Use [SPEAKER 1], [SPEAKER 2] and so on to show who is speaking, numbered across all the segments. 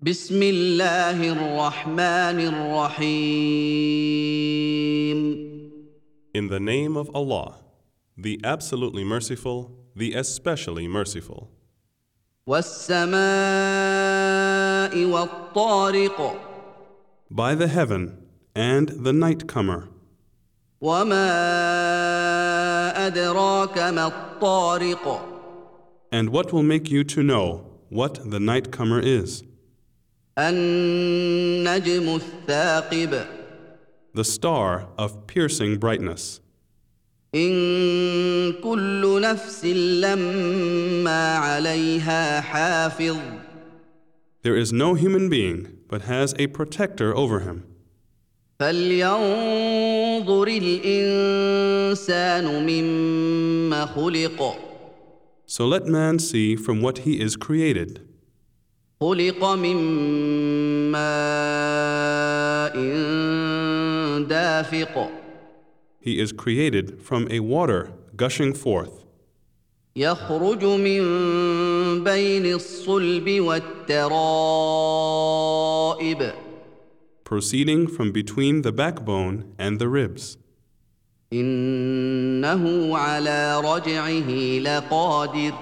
[SPEAKER 1] بسم الله الرحمن الرحيم
[SPEAKER 2] In the name of Allah, the absolutely merciful, the especially merciful,
[SPEAKER 1] والسماء والطارق
[SPEAKER 2] by the heaven and the night comer.
[SPEAKER 1] وما أدراك ما الطارق
[SPEAKER 2] And what will make you to know what the night comer is?
[SPEAKER 1] النجم الثاقب
[SPEAKER 2] The star of piercing brightness.
[SPEAKER 1] إن كل نفس لما عليها حافظ
[SPEAKER 2] There is no human being but has a protector over him.
[SPEAKER 1] فلينظر الإنسان مما خلق
[SPEAKER 2] So let man see from what he is created.
[SPEAKER 1] خلق من ماء دافق
[SPEAKER 2] He is created from a water gushing forth,
[SPEAKER 1] يخرج من بين الصلب والترائب
[SPEAKER 2] proceeding from between the backbone and the ribs.
[SPEAKER 1] إنه على رجعه لقادر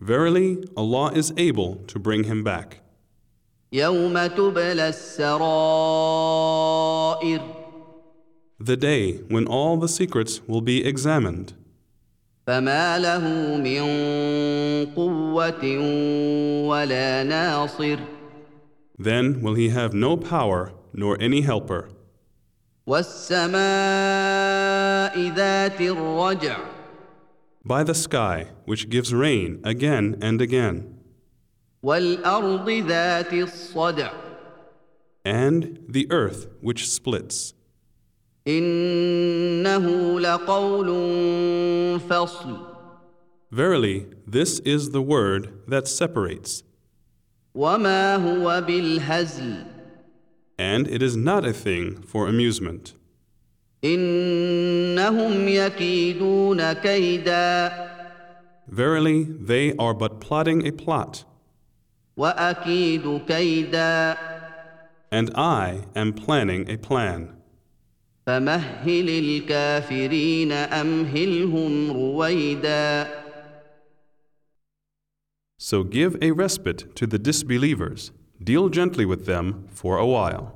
[SPEAKER 2] Verily, Allah is able to bring him back.
[SPEAKER 1] يوم تبلى السرائر
[SPEAKER 2] The day when all the secrets will be examined.
[SPEAKER 1] فما له من قوة ولا ناصر
[SPEAKER 2] Then will he have no power nor any helper.
[SPEAKER 1] والسماء ذات الرجع
[SPEAKER 2] By the sky, which gives rain again and again,
[SPEAKER 1] والأرض ذات الصدع
[SPEAKER 2] and the earth which splits.
[SPEAKER 1] إنه لقول فصل
[SPEAKER 2] Verily, this is the word that separates,
[SPEAKER 1] وما هو بالهزل
[SPEAKER 2] and it is not a thing for amusement.
[SPEAKER 1] إنهم يكيدون كيدا
[SPEAKER 2] Verily, they are but plotting a plot,
[SPEAKER 1] وأكيد كيدا
[SPEAKER 2] and I am planning a plan.
[SPEAKER 1] فمهل الكافرين أمهلهم رويدا
[SPEAKER 2] So give a respite to the disbelievers, deal gently with them for a while.